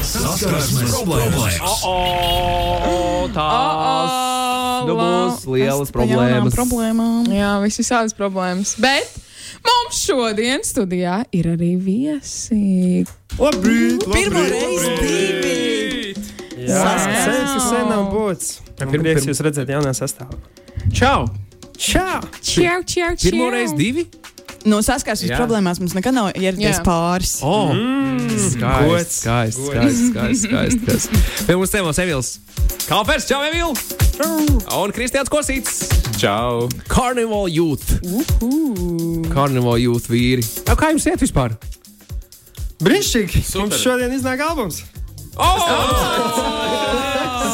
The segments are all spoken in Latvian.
Saskarsmes problēmas. O, tās Oh, nu būs lielas problēmas. problēmām. Jā, visi šādas problēmas. Bet mums šodien studijā ir arī viesi. Labrīt, Pirmo reizi divi. Sen, ka sen nav būts. Man Prieks pirm- jūs redzēt jaunā sastāvā. Čau! Čau! Čau, čau, čau. Pirmoreiz divi? No saskarsmes Jā. Oh, problēmās mums nekad nav ieradies Jā. pāris. O, Mm. skaisti, Oh, mm. Gods. skaisti, Gods. skaisti, skaisti, skaisti, skaisti. Pie mums ciemos Emils. Kāpēc? Čau, Emil! Un Kristians Kosīts. Čau! Carnival Youth. Carnival Youth vīri. Jau, kā jums iet vispār? Brīnišķīgi! Mums šodien iznāk albums! Oh!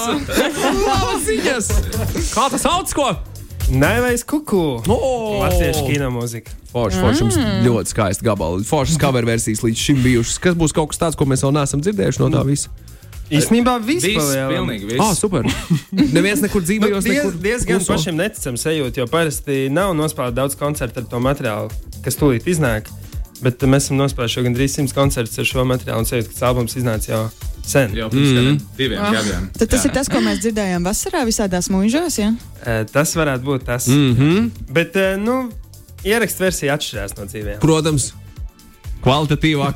Labas ziņas! Kā tas sauc, ko? Naivais kuku! Oh! Latviešu kino mūzika. Forši, forši jums ļoti skaisti gabali. Foršas cover versijas līdz šim bijušas. Kas būs kaut kas tāds, ko mēs vēl neesam dzirdējuši Nu, no tā visa? Īstenībā viss Viss, palielam. pilnīgi Ah, viss. super! Neviens nekur Nu, dzīvojos. diez, diezgan pašiem neticams sajūta, jo parasti nav nospēlēta daudz koncertu ar to materiālu, kas tūlīt iznāk. Bet mēs esam nospēlējuši jau gandrīz 100 koncertus ar šo materiālu, un sajūta, ka tas albums iznāca jau sen. Jau pirms kādiem diviem Ah. gadiem. Tad tas ir tas, ko mēs dzirdējām vasarā visādās mūžās. Ja? Eh, Tas varētu būt tas. Mm -hmm. Bet, eh, nu, ierakstu versija atšķirās no dzīvēm. Protams, kvalitatīvāk.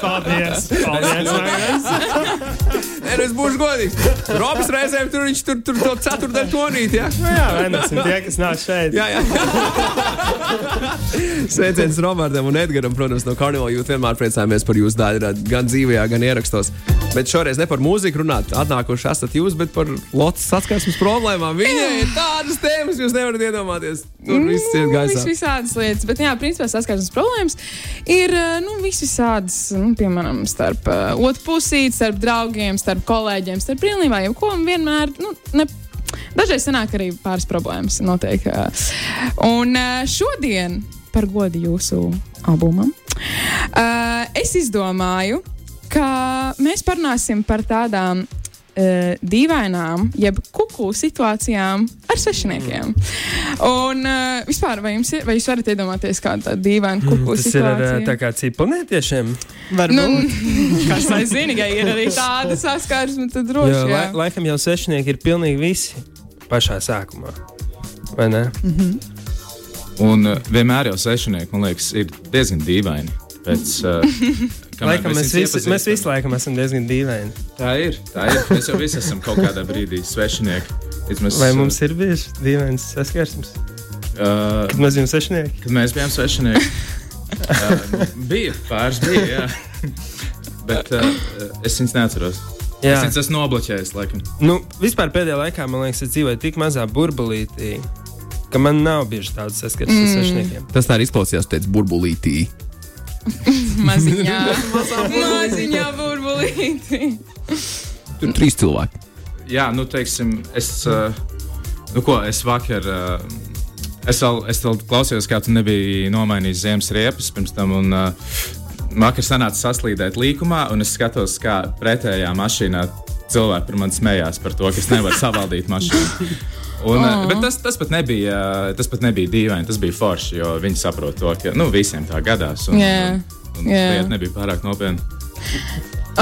Paldies! Paldies! Nē, nu es būšu godīgs. Robs reizēm tur viņš tur tur to ceturtdienu tonīt. Ja? Nu Jā, vienāsim tie, kas nāk šeit. Jā, jā. Sveiciens Robertam un Edgaram, protams, no Carnival. Jūs vienmēr priecājamies par jūsu daļu, gan dzīvajā, gan ierakstos. Bet šoreiz ne par mūziku runāt, atnākuši esat jūs, bet par Lotus saskarsmes problēmām. Viņai ir tādas tēmas, jūs nevarat iedomāties. Tur viss ir Mm, Viss gaisā. visādas lietas, bet jā, principā saskarsmes problēmas ir ā, nu, viss visādas, nu, piemēram, starp ā, otru pusīti, starp draugiem, starp kolēģiem, starp brīvībā, jau ko un vienmēr. Nu, ne, Dažreiz sanāk arī pāris problēmas. Noteikti. ā. Un ā, šodien, par godu jūsu albumam, ā, es izdomāju, ka mēs parunāsim par tādām eh, dīvainām, jeb kuku situācijām ar svešiniekiem. Un eh, vispār, vai, jums, ir- vai jūs varat iedomāties kādu tādu dīvainu kuku Tas ir ar eh, situāciju? tā kā cipelnietiešiem. Nu, kas lai zina, ka ir arī tāda saskarsme, tad droši Jo lai, vien. laikam jau sešnieki ir pilnīgi visi pašā sākumā. Vai ne? Un uh, vienmēr jau sešnieki, man liekas, ir diezgan dīvaini. Pēc, uh, kamēr Laikam Nu, mēs, viņus visi, mēs iepazīstam. visu laiku esam diezgan dīvaini. Tā ir. Tā ir. Mēs jau visi esam kaut kādā brīdī svešinieki. Līdz Mēs, Vai mums ir bijis dīvains saskarsmes? Uh, Kad mēs bijām sešnieki? kad mēs bijām svešinieki, uh, bija pāris bija. Jā. Bet uh, es viņas neatceros. Jā, Es viņas esmu nobloķējis, laikam. nu, vispār pēdējā laikā man liekas, es dzīvoju tik mazā burbulītī, ka man nav bieži tādas saskarsmes mm. ar sešniekiem. Tas tā arī izklausījās, teica burbulītī. Maziņā, maziņā burbulīti. Tur trīs cilvēki. Jā, nu, teiksim, es. Uh, nu, ko es vakar. Uh, es, vēl, es vēl klausījos, kā tu nebija nomainījis ziemas riepas pirms tam. Un, uh, vakar sanāca saslīdēt līkumā, un es skatos, kā pretējā mašīnā cilvēki par mani smējās par to, ka es nevaru savaldīt mašīnu. Un, Oh. eh, bet tas, tas, pat nebija, eh, tas pat nebija dīvaini, tas bija forši, jo viņi saprot to, ka nu, visiem tā gadās. Un, Jā, un, un jā. lieta nebija pārāk nopietna.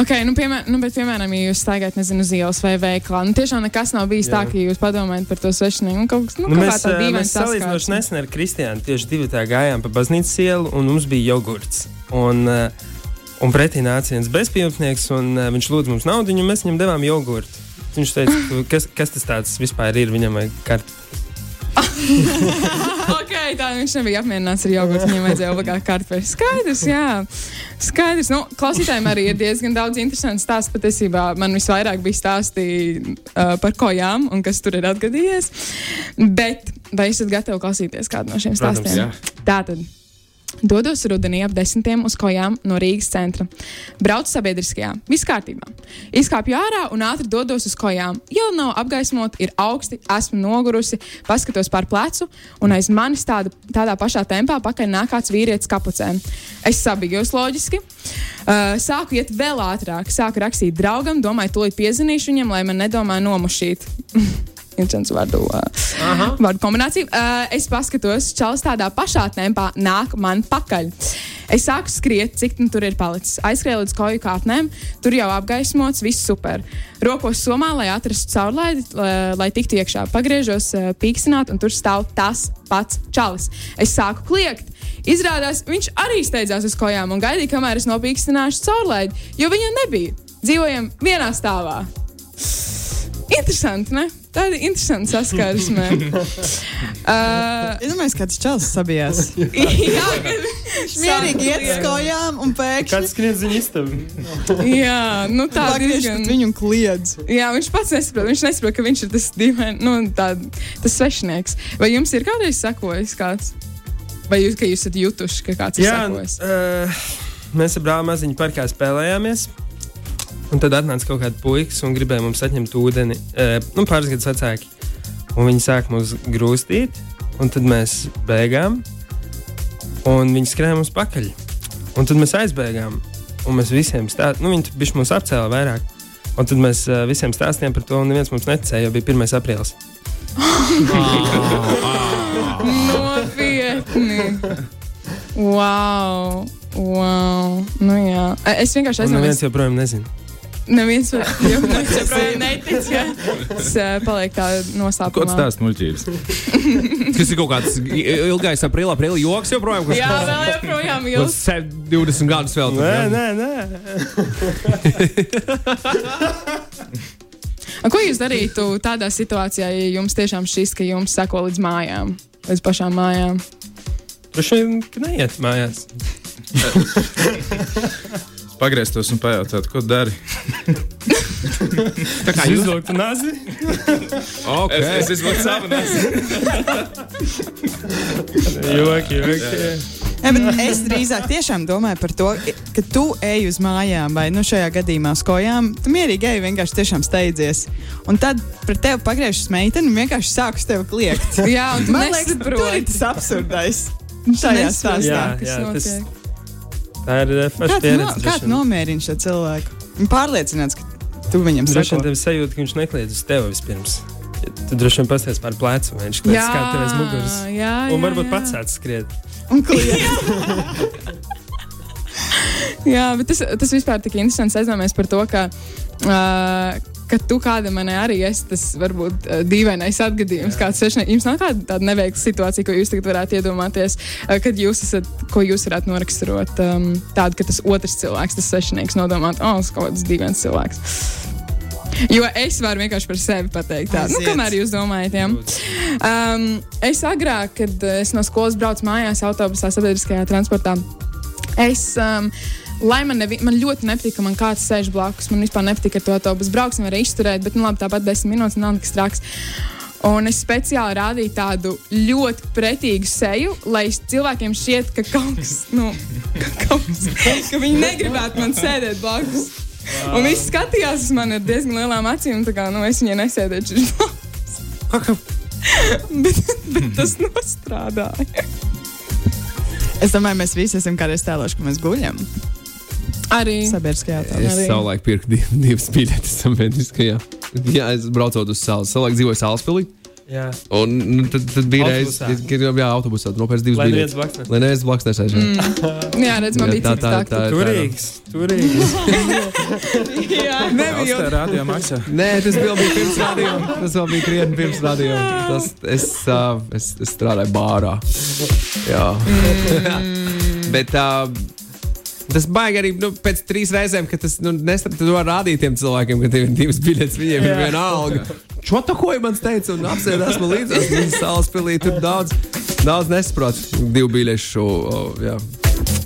Okay, nu, piemēr, nu, bet, piemēram, ja jūs staigājat nezinu, uz ielas vai veikalā, nu, tiešām nekas nav bijis Jā. tā, ka jūs padomājat par to svešinieku. Nu, kaut kas nu, Nu, nu, mēs tāds eh, - mēs salīdzinoši ne. nesen ar Kristiānu tieši divi tā gājām pa baznīcas ielu, un mums bija jogurts. Un, eh, un pretī nāca viens bezpajumtnieks, un eh, viņš lūdza mums naudu, un mēs viņam devām jogurtu. Viņš teica, ka kas, kas tas tāds vispār ir, viņam vajag karti. Okay, tā viņš nebija apmierināts ar jogurtu. Viņam vajadzēja obligāti kartupēļu. Skaidrs, jā. Skaidrs. Nu, klausītājiem arī ir diezgan daudz interesants stāsts. Patiesībā man visvairāk bija stāstīja uh, par kojām un kas tur ir atgadījies. Bet vai esat gatavi klausīties kādu no šiem Protams, stāstiem? jā. Tātad. Dodos rudenī ap desmitiem uz kājām no Rīgas centra. Braucu sabiedriskajā, viss kārtībā. Izkāpu ārā un ātri dodos uz kājām. Iela nav apgaismota, ir augsti, esmu nogurusi, paskatos pār plecu, un aiz manis tāda, tādā pašā tempā pakaļ nāk kāds vīrietis kapucē. Es sabijos loģiski, uh, sāku iet vēl ātrāk, sāku rakstīt draugam, domāju, tūlīt piezinīšu viņam, lai man nedomā nomušīt. Incents vārdu, uh, vārdu kombinācija. Uh, es paskatos, čels tādā pašā tempā nāk man pakaļ. Es sāku skriet, cik nu tur ir palicis. Aizskrēju līdz koju kāpnēm, tur jau apgaismots, viss super. Rokos somā, lai atrastu caurlaidi, lai, lai tiktu iekšā. Pagriežos, eh, pīkstināt, un tur stāv tas pats čalis. Es sāku kliegt. Izrādās, viņš arī steidzās uz kājām un gaidīja, kamēr es nopīkstināšu caurlaidi, jo viņa nebija. Dzīvojam vienā stāvā. Interesanti, ne? Tāda interesanta saskarsme. uh, Es domāju, ka tas čels sabijās. jā, kad viņš Mierīgi iet uz kājām un pēkšņi Kāds skrien ziņā istabu? Jā, nu tā ir pagriež pret diezgan. viņu un kliedz. Jā, viņš pats nesaprot, viņš nesaprot, ka viņš ir tas dīvains, nu, tā, tas svešinieks. Vai jums ir kādreiz sakojis kāds? Vai jūs, ka jūs esat jutuši, ka kāds ir sakojis? uh, mēs ar brāli maziņu parkā spēlējāmies. Un tad atnāca kaut kāda puikas un gribēja mums atņemt ūdeni. Uh, nu, pāris gadus vecāki. Un viņi sāk mums grūstīt, un tad mēs bēgām. Un viņi skrēja mums pakaļ. Un tad mēs aizbēgām. Un mēs visiem stāstījām, nu, viņi bija mums apcēla vairāk. Un tad mēs uh, visiem stāstījām par to, un neviens mums neticēja, jo bija 1. aprīlis. Ah. Nopietni! Wow! Wow! Nu, jā. Es vienkārši Un aizmirsu. neviens joprojām nezina. Neviens jau neviens netic, ja tas eh, paliek tā noslēpumā. Ko tas tāds muļķības? Tas ir kaut kāds ilgais aprīlis, aprīlis joks joprojām. Kas... Jā, vēl joprojām Uz jūs. se- 20 gadus vēl tur, Nē, jā? nē, nē. A, Ko jūs darītu tādā situācijā, ja jums tiešām šis, ka jums sako līdz mājām, līdz pašām mājām? Tur šeit neiet mājās. Pagrieztos un pajautāt, ko dari. Tā kā jūs izvilktu nazi? okay. Es, es izvilku savu nesu. Joki, joki. Ne, bet es drīzāk tiešām domāju par to, ka tu ej uz mājām, vai nu šajā gadījumā uz kājām. Tu mierīgi ej, vienkārši tiešām steidzies. Un tad pret tevi pagriežas meitene un vienkārši sāks tevi kliegt. Jā, un tu Man liekas, tur ir nesaproti. tas absurdais. Šajā nesaproti. stāstā. Jā, kas jā, tas, notiek. tā ir eh, forša Kāds, no, pieredze. kāds droši vien. nomierina šo cilvēku? Viņš pārliecināts, ka tu viņam Droši vien saki, tev ir sajūta, ka viņš nekliedz uz tevi vispirms. Ja Tu droši vien pasties pār plecu, vai viņš kliedz kā tev aiz muguras. jā, Un varbūt jā. pats atskriet. un kliedz. Jā, bet tas, tas vispār tik interesants. Aizdomājamies par to, ka. Uh, Kad tu kādam man arī esi, tas varbūt uh, dīvainais atgadījums, kāds sešnieks. Jums nav kāda tāda neveikla situācija, ko jūs tagad varētu iedomāties, uh, kad jūs esat, ko jūs varētu noraksturot um, tādu, ka tas otrs cilvēks, tas sešnieks, nodomā, oh, tas kaut kāds dīvains cilvēks. Jo es varu vienkārši par sevi pateikt, tā, nu, Aiziet. kamēr jūs domājat, jā. Um, es agrāk, kad eh, es no skolas braucu mājās autobusā, sabiedriskajā transportā, es. Um, Lai man, nevi, man ļoti nepatīk, ka man kāds sēž blakus. Man vispār nepatīk, ka to autobusu brauksim, var izturēt, bet nu, labi, tāpat desmit minūtes nav nekas traks. Un es speciāli rādīju tādu ļoti pretīgu seju, lai es- cilvēkiem šķiet, ka kaut kas, nu, ka, kaut kas, ka viņi negribētu man sēdēt blakus. Un viss skatījās uz mani ar diezgan lielām acīm, tā kā nu, es viņai nesēdēšu blakus. bet, bet tas nostrādāja. Es domāju, mēs visi esam kādreiz tēloši, ka mēs guļam Arī sabiedriskajā telpā. Es Arī. savulaik pirku div, divas biļetes sabiedriskajā. Jā, es braucot uz salas. Savulaik dzīvoju Salaspilī. Jā, Un nu, tad, tad bija reizes, Autobusā. kad jau bija autobusā. Nopērts divas lai neviens biļetes. blakus. ne- Lai nu neviens blakus nesēž. Mm. jā, redz, nu man Jā, tā- bija cits tā- tāds. tā- Turīgs, turīgs. Jā, nebija. Tā radio maksā. Nē, tas vēl bija pirms radījuma. Tas vēl bija krietni pirms radījuma. Tas, es, uh, es, es strādāju bārā. Jā. Bet. Uh, Tas baigi arī nu, pēc trīs reizēm, kad tas nu, nestrādā. Tad var rādīt tiem cilvēkiem, ka tev ir divas biļetes, viņiem ir viena alga. Čo tā ko man teica? Un apsēdās man līdzās. Viņas salas pilī tur daudz, daudz nesaprot. Divu biļešu o, jā,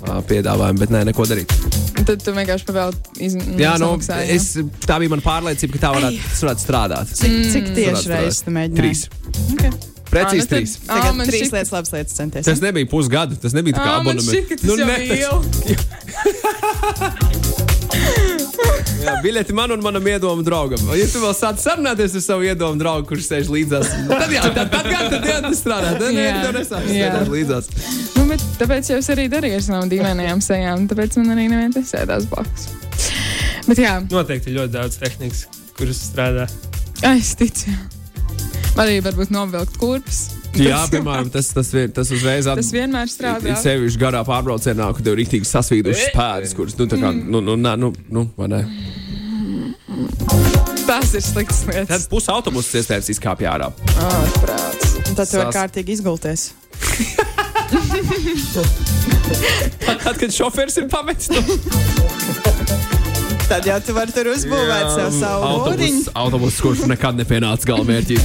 ā, piedāvājumu, bet nē, neko darīt. Tad tu vienkārši pavēli izmantot. Jā, nu, es, tā bija mana pārliecība, ka tā varētu, tas varētu strādāt. Cik, cik tieši Varētu reizes tu mēģināji? Trīs. Precīzi trīs. Ah, Tagad man trīs šķiet, lietas, labas lietas centies. Tas nebija pusgadu, tas nebija tā kā ah, man šķiet, ka abonements. tas nu, jau bija ilgi. jā, biļeti man un manam iedomu draugam. Ja tu vēl sāc sarunāties ar savu iedomu draugu, kurš sēž līdzās, nu, tad jā, tad, tad, tad, tad jā, tas strādā. Tad nē, Jā. tev nesāc Jā. sēdēt līdzās. Nu, bet tāpēc jau es arī darīju ar savām dīvainajām sejām, tāpēc man arī neviens nesēdās blakus. Bet jā, Noteikti ir ļoti daudz tehnikas, kuras strādā. es ticu. Arī varbūt novilkt kurpes. Jā, piemēram, tas, tas, vien, tas uzreiz Tas vienmēr strādā. Ir sevišķi garā pārbraucienā, kad tev ir rīktīgi sasvīdušas pēdas, kuras, nu, tā kā, nu, nu, nē, nu, nu, vai ne? Tas ir slikts Tad lietas. pusi autobusu iestājās izkāpjā ārā. Ārprāts. Un tad tev ir Sas- kārtīgi izgulties. Tad, kad šoferis ir pametis to Tad jau tu vari tur uzbūvēt sev savu mūriņu. autobusu, autobus, kurš nekad nepienāca galamērķī.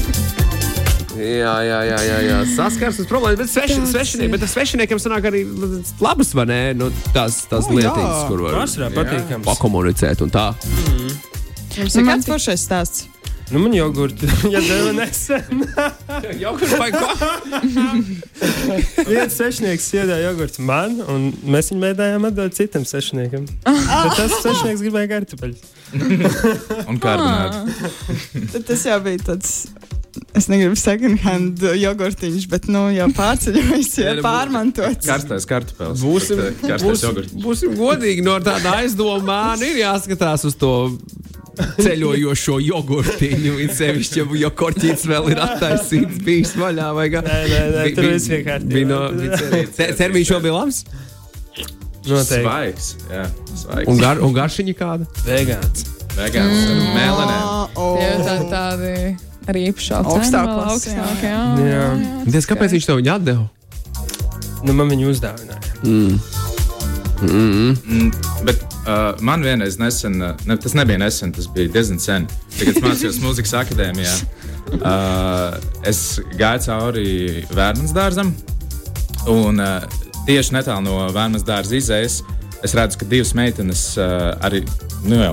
Jā, jā, jā, jā, jā. saskarsmes problēmas, bet, sveši, Tas svešiniek, ir. bet ar svešiniekiem sanāk arī l- labas, vai ne? Nu, tās tās oh, O, jā. lietas, kur var Pārsvarā patīkams. pakomunicēt un tā. Tas ir Man kāds tik- foršais stāsts. Nu, man jogurti, ja dēļ nesen. Jau kur vai ko? Viens sešnieks iedāja jogurtu man, un mēs viņu mēģinājām atdot citam sešniekam. Bet tas sešnieks gribēja kartupeļus. Un kārdināt. Ah. Tad tas jau bija tāds. Es negribu second hand jogurtiņš, bet nu jau pārceļojis, jau Nē, nu, bū- pārmantots. Karstais kartupēlis. Būsim, Bet, eh, Karstais būsim, jogurts. būsim godīgi, no tāda aizdomāna ir jāskatās uz to ceļojošo jogurtiņu. Viņš sevišķi, ja- ja korķis vēl ir attaisīts, bijis vaļā vai kā. Nē, nē, nē, Bi- tur bi- viss vienkārši. bija no- Te- Termiņš jau bija labs. Noteikti. Svaigs. Jā, svaigs. Un, gar, Mm. un garšiņa kāda? Vegāns. Vegāns ar mēlenēm. Jā, tā Mēlēnē. tādi arī īpašā Augstā cena, vēl klasē, jā. augstāk, jā. Jā. Diez, kāpēc viņš tev viņu atdeva? Nu, man viņu uzdāvināja. Mm, Bet uh, man vienreiz nesen, uh, ne, tas nebija nesen, tas bija diezgan sen. Tagad es mācījos muzikas akadēmijā. Uh, es gāju cauri Vērnas dārzam, un uh, tieši netālu no Vērnas dārza izējas es redzu, ka divas meitenes, uh, arī nu jau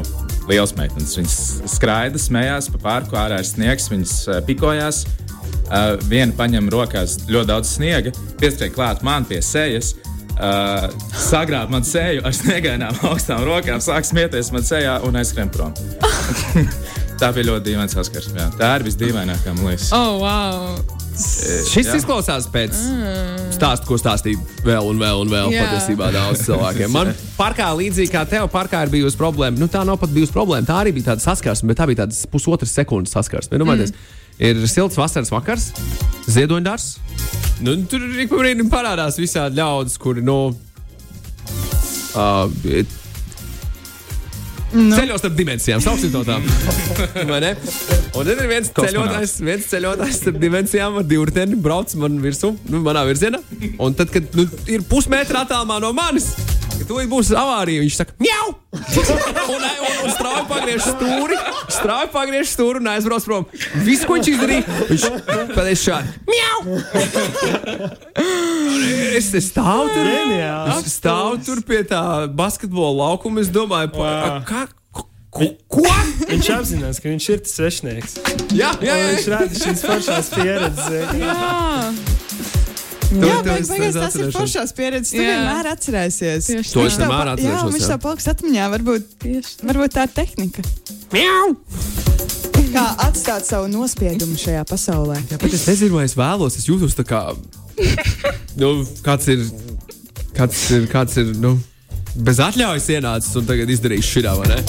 liels meitenes, viņas skraida, smējās pa parku, ārā ir sniegs, viņas uh, pikojās. Uh, viena paņem rokās ļoti daudz sniega, piespriež klāt man pie sejas. Uh, sagrāb man seju ar sniegainām augstām rokām, sāk smieties man sejā un aizskrien prom. tā bija ļoti dīvaina saskarsme. jā. Tā ir visdīvainākā monēta. Oh, wow. Šis Jā. izklausās pēc stāsta, ko stāstīja vēl un vēl, un vēl Jā. patiesībā daudz cilvēkiem. Man parkā, līdzīgi kā tev, parkā ir bijusi problēma. Nu, tā nav pat bijusi problēma. Tā arī bija tāda saskarsme, bet tā bija tādas pusotras sekundes saskarsme. Nu, mm. Ir silts vasaras vakars, ziedoņdārs. Nu, un tur ik pa brīdim parādās visādi ļaudis, kuri nu, no. Uh, Nu. Ceļos starp dimensijām, sauksim to tā. Vai ne? Un tad ir viens ceļotājs, viens ceļotājs starp dimensijām ar dūrteni, brauc man virsū, nu, manā virzienā. Un tad, kad nu, ir pusmetra attālumā no manis, kad tūlīt būs avārija, viņš saka, mjau! un, un, un strauji pagriež stūri, strauji pagriež stūri un aizbrauc prom. Viss, ko viņš izdarīja, viņš pateica šādi, mjau! es, es stāvu tur. Ģeniāli. Es stāvu tur pie tā basketbola laukuma. Es domāju, pa, a, Wow. kā, ko, ko, ko? Viņš apzinās, ka viņš ir tas sešnieks. Jā, jā, jā. Viņš rāda šīs foršās pieredzes. eh, Jā, Jā, To- to bet es beigās tas ir atcerēšos. foršās pieredzes. Tu Jā. vienmēr atcerēsies. tieši To es tā tā. vienmēr pa- atcerēšos, Jā, un viņš jā. tā paliks atmiņā. Varbūt, Tieši tā. varbūt tā ir tehnika. Kā atstāt savu nospiedumu šajā pasaulē? Jā, bet es nezinu, vai es vēlos. Es jūtos tā kā. Nu, kāds ir. Kāds ir. Kāds ir nu, bez atļaujas ienācis un tagad izdarījis šitā, vai ne?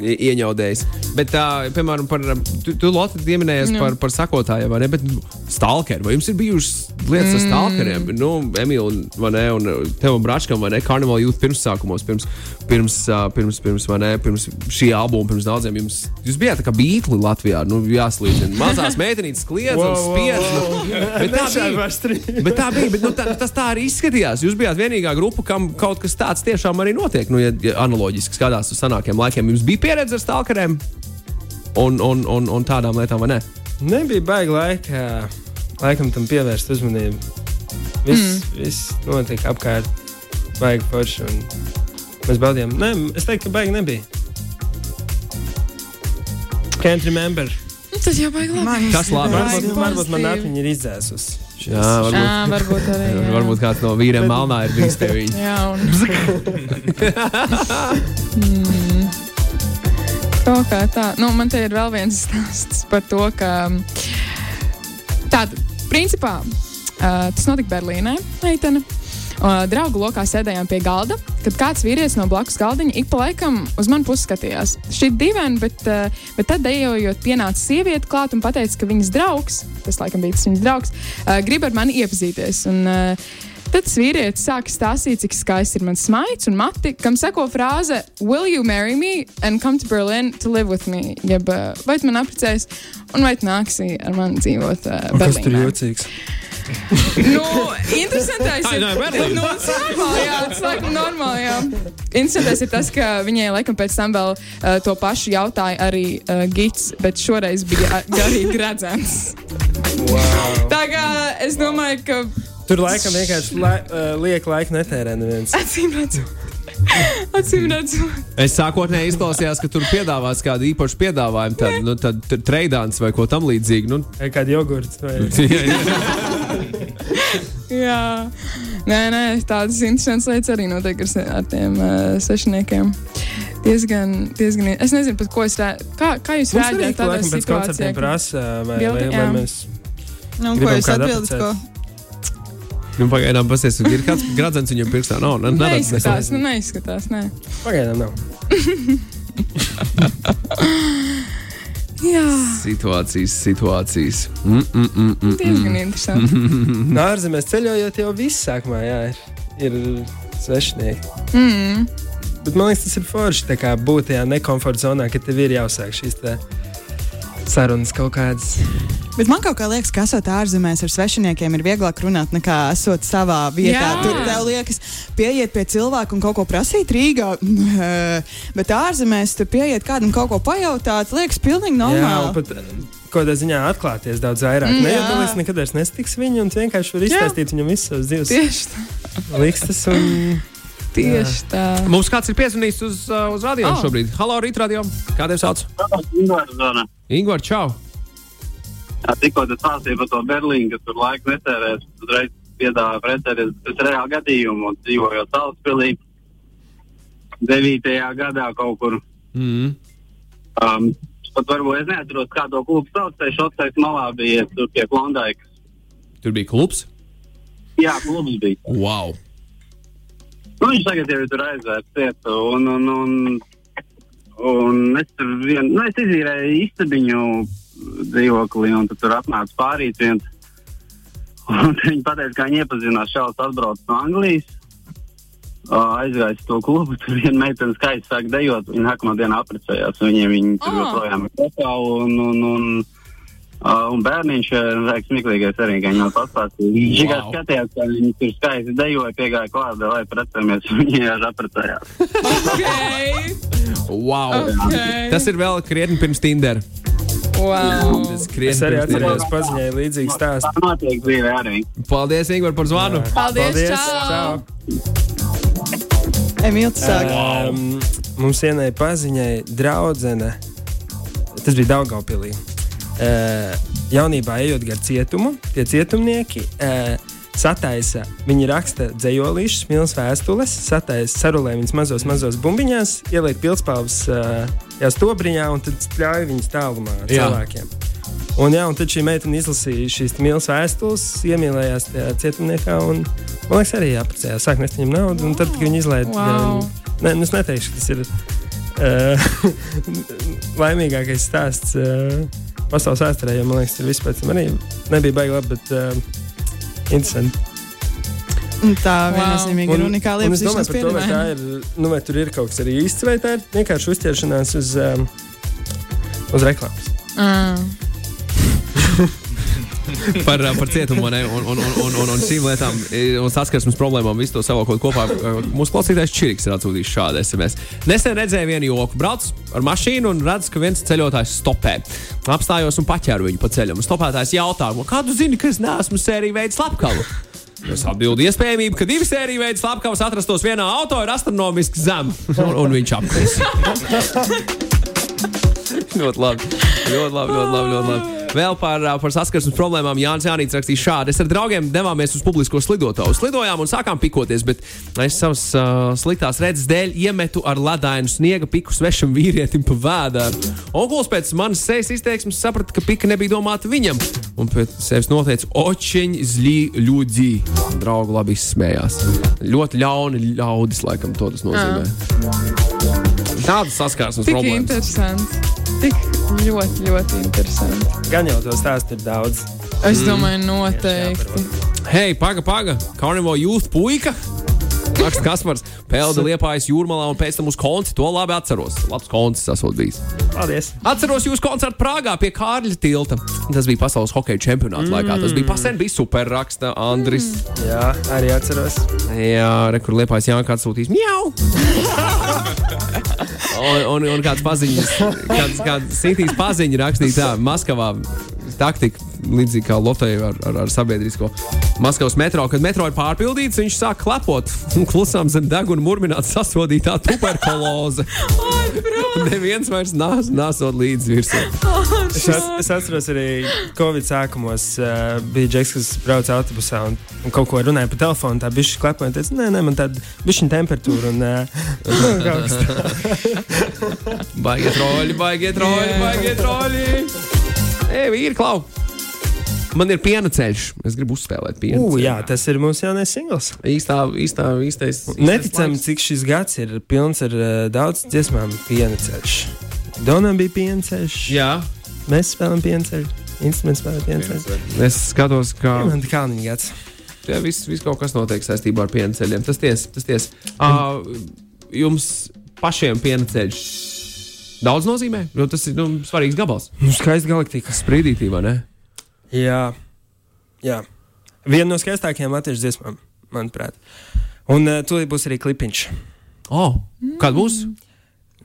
I- Ieņaudējis. Bet, tā, piemēram, par, tu, tu Lotte, pieminējies par, par sakotājiem, vai ne? Bet nu, stalkeri, vai jums ir bijušas lietas Mm. ar stalkeriem? Nu, Emīlija, un- vai ne? Un tev un Bračkam, vai ne? Karnevāla jūtas pirmsākumos, pirms, pirms, ā, pirms, pirms, vai ne? Pirms šī albuma, pirms daudziem jums. Jūs bijāt tā kā bītli Latvijā, nu, jāslīdzina. Mazās meitenītes kliedz un Wow, wow, spiedz. wow. nu, bet tā Nešādi bija. vairs trīs. Bet tā bija, bet nu, tā, tas tā arī izskatījās. Jūs bijāt vienīgā grupa, kam kaut kas tāds tiešām arī notiek. Nu, ja, ja analoģiski skatās uz senākiem laikiem, jums bija pieredze ar stalkeriem un, un, un, un tādām lietām, vai ne? Nebija baigi laika, laikam tam pievērst uzmanību. Viss, mm. viss notika apkārt, baigi forši. un Mēs baudījām. Nē, es teiktu, ka baigi nebija. Can't remember. Tas Nu, jau baigi labi. Man Kas labi? Baigi Varbūt, varbūt man pozitīvi. atmiņa ir izdzēsusi. Jā, varbūt, Jā, varbūt arī. Jā. varbūt kāds no vīriem malnā ir bijis pie viņa. Jā, un. Mm. Kaut kā tā. Nu, man te ir vēl viens stāsts par to, ka. mm, Tātad, principā, uh, tas notika Berlīnē, meitene. Uh, draugu lokā sēdējām pie galda, kad kāds vīrietis no blakus galdiņa ik pa laikam uz mani pusi skatījās. Šī ir dīvaina, bet, eh, bet tad dejojot, pienāca sieviete klāt un teica, ka viņas draugs, tas laikam bija tas viņas draugs, eh, grib ar mani iepazīties. Un, eh, Tad tas vīrietis sāka stāstīt, cik skaisti ir mans smaids un mati, kam seko frāze Will you marry me and come to Berlin to live with me? Jeb, eh, vai tu man apprecēsi un vai tu nāksi ar mani dzīvot uh, Un Kas tur Berlīnē? jūtīgs? Nu, interesantais Tā ir ir no Berlīnes. Nu, tas ir normāli, jā, tas laikam normāli, jā. Interesantais ir tas, ka viņai laikam pēc tam vēl uh, to pašu jautāja arī uh, Gits, bet šoreiz bija uh, garīgi redzams. Wow. Tā kā es domāju, ka Tur laikam vienkārši lai, uh, liek laika netērē neviens. acīm redzot. Acīm redzot, Es sākotnēji izklausījos, ka tur piedāvāts kādu īpašu piedāvājumu, tad, nu, tad tr- treidāns vai ko tamlīdzīgu. Nu, Vai Kādu jogurtu vai jā, jā. jā. Nē, nē, tādas interesantas lietas arī notiek ar, se- ar tiem uh, sešiniekiem. Diezgan, diezgan, es nezinu, pat ko es redzu. Kā, kā jūs Mums arī redzat, tādā laikam pēc situācijā? kad- koncertiem prasa, vai, vai, Bildi, vai jā. mēs Nu, ko Gribam jūs kādu atbildat? Ko? apprecēt? Nu, pagaidām, pasies, ir kāds gradzens viņam pirkstā. Nav, ne, Neizskatās, nu, neizskatās. Nē. pagaidām nav. Jā, Situācijas, situācijas. Mm, mm, mm, mm. diezgan Mhm. interesanti. No ārzemēs ceļojot jau viss sākumā, jā, ir, ir svešinieki. Mm. Bet man liekas, tas ir forši tā kā būt tajā nekomforta zonā, ka tev ir jāuzsāk šīs te sarunas kaut kādas. Bet man kaut kā liekas, ka esot ārzemēs ar svešiniekiem ir vieglāk runāt nekā esot savā vietā. Jā. Tur tev liekas, pieiet pie cilvēka un kaut ko prasīt Rīgā. Nē. Bet ārzemēs tur pieiet kādam kaut ko pajautāt, liekas, pilnīgi un normāli. pat eh, kādā ziņā atklāties daudz vairāk. Mm, Mm, ne, jā. jau tālāk nekad vairs nesatiks viņu un tu vienkārši var izstāstīt viņam visu savas dzīves Tieši tā. likstas. Un... Tieši tā. Mums kāds ir piezvanījis uz, uh, uz Ah. radio Oh. oh. šobrīd. Halo, rīt radio. Kā tev sauc? Ingūna. Ingūna, čau! Tikko tas stāstīja par to Berlīnu, ka tur laiku netērēs. Uzreiz piedāvāja pretēties pēc reāla gadījuma un dzīvojot Salaspilī. 9. gadā kaut kur. Mm. Um, pat varbūt es neatceros, kā to klubu sauc. Tā šotais malā bija tur pie Klondaikas. Tur bija klubs. Jā, klubs bija. Wow! Nu, viņš tagad jau ir tur aizvērts cietu. Un, un, un, un es tur vien, nu, es izīrēju istabiņu dzīvokli, un tad tur atnāca pārīt viens. Un tad Viņi teica, ka viņi iepazinās šādu atbraucu no Anglijas. Uh, aizgāja uz to klubu, tur viena meitene skaisti sāk dejot. Viņa nākamā dienā apprecējās. Viņiem viņi Ah. tur joprojām ir kopā. Un, un, un, uh, un bērniņš ir smieklīgais arī, ka viņi jau pastāstīja. Viņš tikai Wow. skatījās, kā viņi tur skaisti dejoja, piegāja klāt, lai precējamies. Viņi jau apprecējās. Okay. wow. Ah. Okay. Tas ir vēl krietni pirms Tinder. wow. Tas Es krietni arī pirms atceros, Tinder. paziņoju līdzīgu Tā stāstu. notiek dzīvē arī. Paldies, Ingūna, par zvanu! Paldies! Paldies čau. Čau. Čau. Emīls saka, Um, mums vienai paziņai draudzene, tas bija Daugaupīlī. Uh, jaunībā ejot gar cietumu, tie cietumnieki uh, sataisa, viņi raksta dzējolīšus, milz vēstules, sataisa sarulē viņas mazos, mazos bumbiņās, ieliek pilspāvus uh, jās tobriņā un tad ļauj viņas tālumā Jā. cilvēkiem. Un, jā, un tad šī meitene izlasīja šīs mīlestības vēstules, iemīlējās tajā cietumniekā. Un, man liekas, arī apprecējās. Sākumā es viņam naudu, un tad, kad viņi izlaiž Wow. Nē, nu es neteikšu, ka tas ir uh, laimīgākais stāsts uh, pasaules vēsturē, jo man liekas, tas ir vispār. tam Arī nebija baigi labi, bet uh, interesanti. un tā viennozīmīgi ir Un- unikāla un es domāju iepazīšanās par to, vai tā pieredze. ir, nu, vai tur ir kaut kas arī īsts, vai tā ir vienkārši uzķeršanās uz, um, uz reklāmas. Mm. par, uh, par cietumu vai ne, un, un, un, un, un, un šīm lietām, i, un saskarsmes problēmām, visu to savākot kopā. Uh, Mūsu klausītājs Čiriks ir atsūtījis šādu SMS. Nesen redzēju vienu joku. Brauc ar mašīnu un redzu, ka viens ceļotājs stopē. Apstājos un paķēru viņu pa ceļam. Un Stopētājs jautā, "Nu, kā tu zini, ka es neesmu sēriju veids slepkavu? Es atbildu, iespējamība, ka divi sēriju veidu slepkavas atrastos vienā auto ir astronomiski zema. Un, un viņš apgūs. ļoti labi. Ļoti labi, ļoti labi. Ļoti labi. Vēl par, ā, par saskarsmes problēmām Jānis Jānis rakstīs šādi. Es ar draugiem devāmies uz publisko slidotavu. Slidojām un sākām pikoties, bet es savas uh, sliktās redzes dēļ iemetu ar ledainu sniega piku svešam vīrietim pa vēdā. Oglis pēc manas sejas izteiksmes saprata, ka pika nebija domāta viņam. Un pēc sevis noteica očiņu zļi ļudzi. Draugi labi izsmējās. Ļoti ļauni ļaudis, laikam, to tas nozīmē. Tādas saskarsmes Ah. Tik problēmas. interesanti. Tik ļoti, ļoti interesanti. Gan jau to stāstu ir daudz. Mhm. Es domāju, noteikti. Hei, paga, paga! Carnival Youth puika! Raksta Kaspars, pelda liepājas jūrmalā un pēc tam uz konci. To labi atceros. Labs koncis esot bijis. Paldies! Atceros jūsu koncertu Prāgā pie Kārļa tilta. Tas bija pasaules hokeja čempionāta mm. laikā. Tas bija pasen, bija super raksta Andris. Mm. Jā, arī atceros. Jā, re, kur liepājas Jānis atsūtīs mjau! un, un, un kāds paziņas, kāds, kāds sitīs paziņu rakstīja tā, Maskavā. Taktika līdzīga kā Lotte ar, ar, ar sabiedrisko Maskavas metro. Kad metro ir pārpildīts, viņš sāk klepot un klusām zem deguna murmināt sasodītā tuberkuloze. Neviens vairs nās, nāsot līdzi virsmu. Es, at, es atceros arī Covid sākumos uh, bija Džeks, kas brauca autobusā un, un kaut ko runāja pa telefonu. Tā bija šis klepojums, teica, nē, nē, man tāda bišķiņa temperatūra un uh, kaut kas tāds. Baigiet roļi, baigiet roļi, baigiet roļi! Ej, vīri, klau! Man ir piena ceļš. Es gribu uzspēlēt piena. Ū, ceļu. jā, tas ir mūsu jaunais singls. Īstā, īstā, īstais. īstais Neticami, laiks. cik šis gads ir pilns ar uh, daudz dziesmām piena ceļš. Donam bija piena ceļš, Jā, mēs spēlējam piena ceļu, instruments spēlē piena ceļu. es skatos, kā Man kā viņa gads. Tie viss vis kaut kas notiek saistībā ar piena ceļiem. Tas tiesa, tas tiesa. Uh, jums pašiem piena ceļš daudz nozīmē, jo tas ir nu, svarīgs gabals. Nu, skaista galaktika. Sprīdītī, vai ne? Jā, jā. Viena no skaistākajām latviešu dziesmām, manuprāt. Un uh, tūlīt būs arī klipiņš. Oh, kad būs?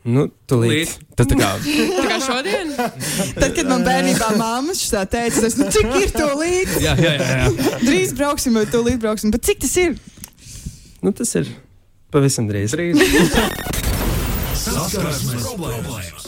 Nu, tūlīt. Tas tā kā Tā kā šodien? Tad, kad man bērnībā māmas tā teica, tas nu, cik ir to līdzi, jā, jā, jā, jā. drīz brauksim vai to līdzi brauksim. Bet cik tas ir? Nu, tas ir pavisam drīz. Trīs. Saskarsmes problēmas!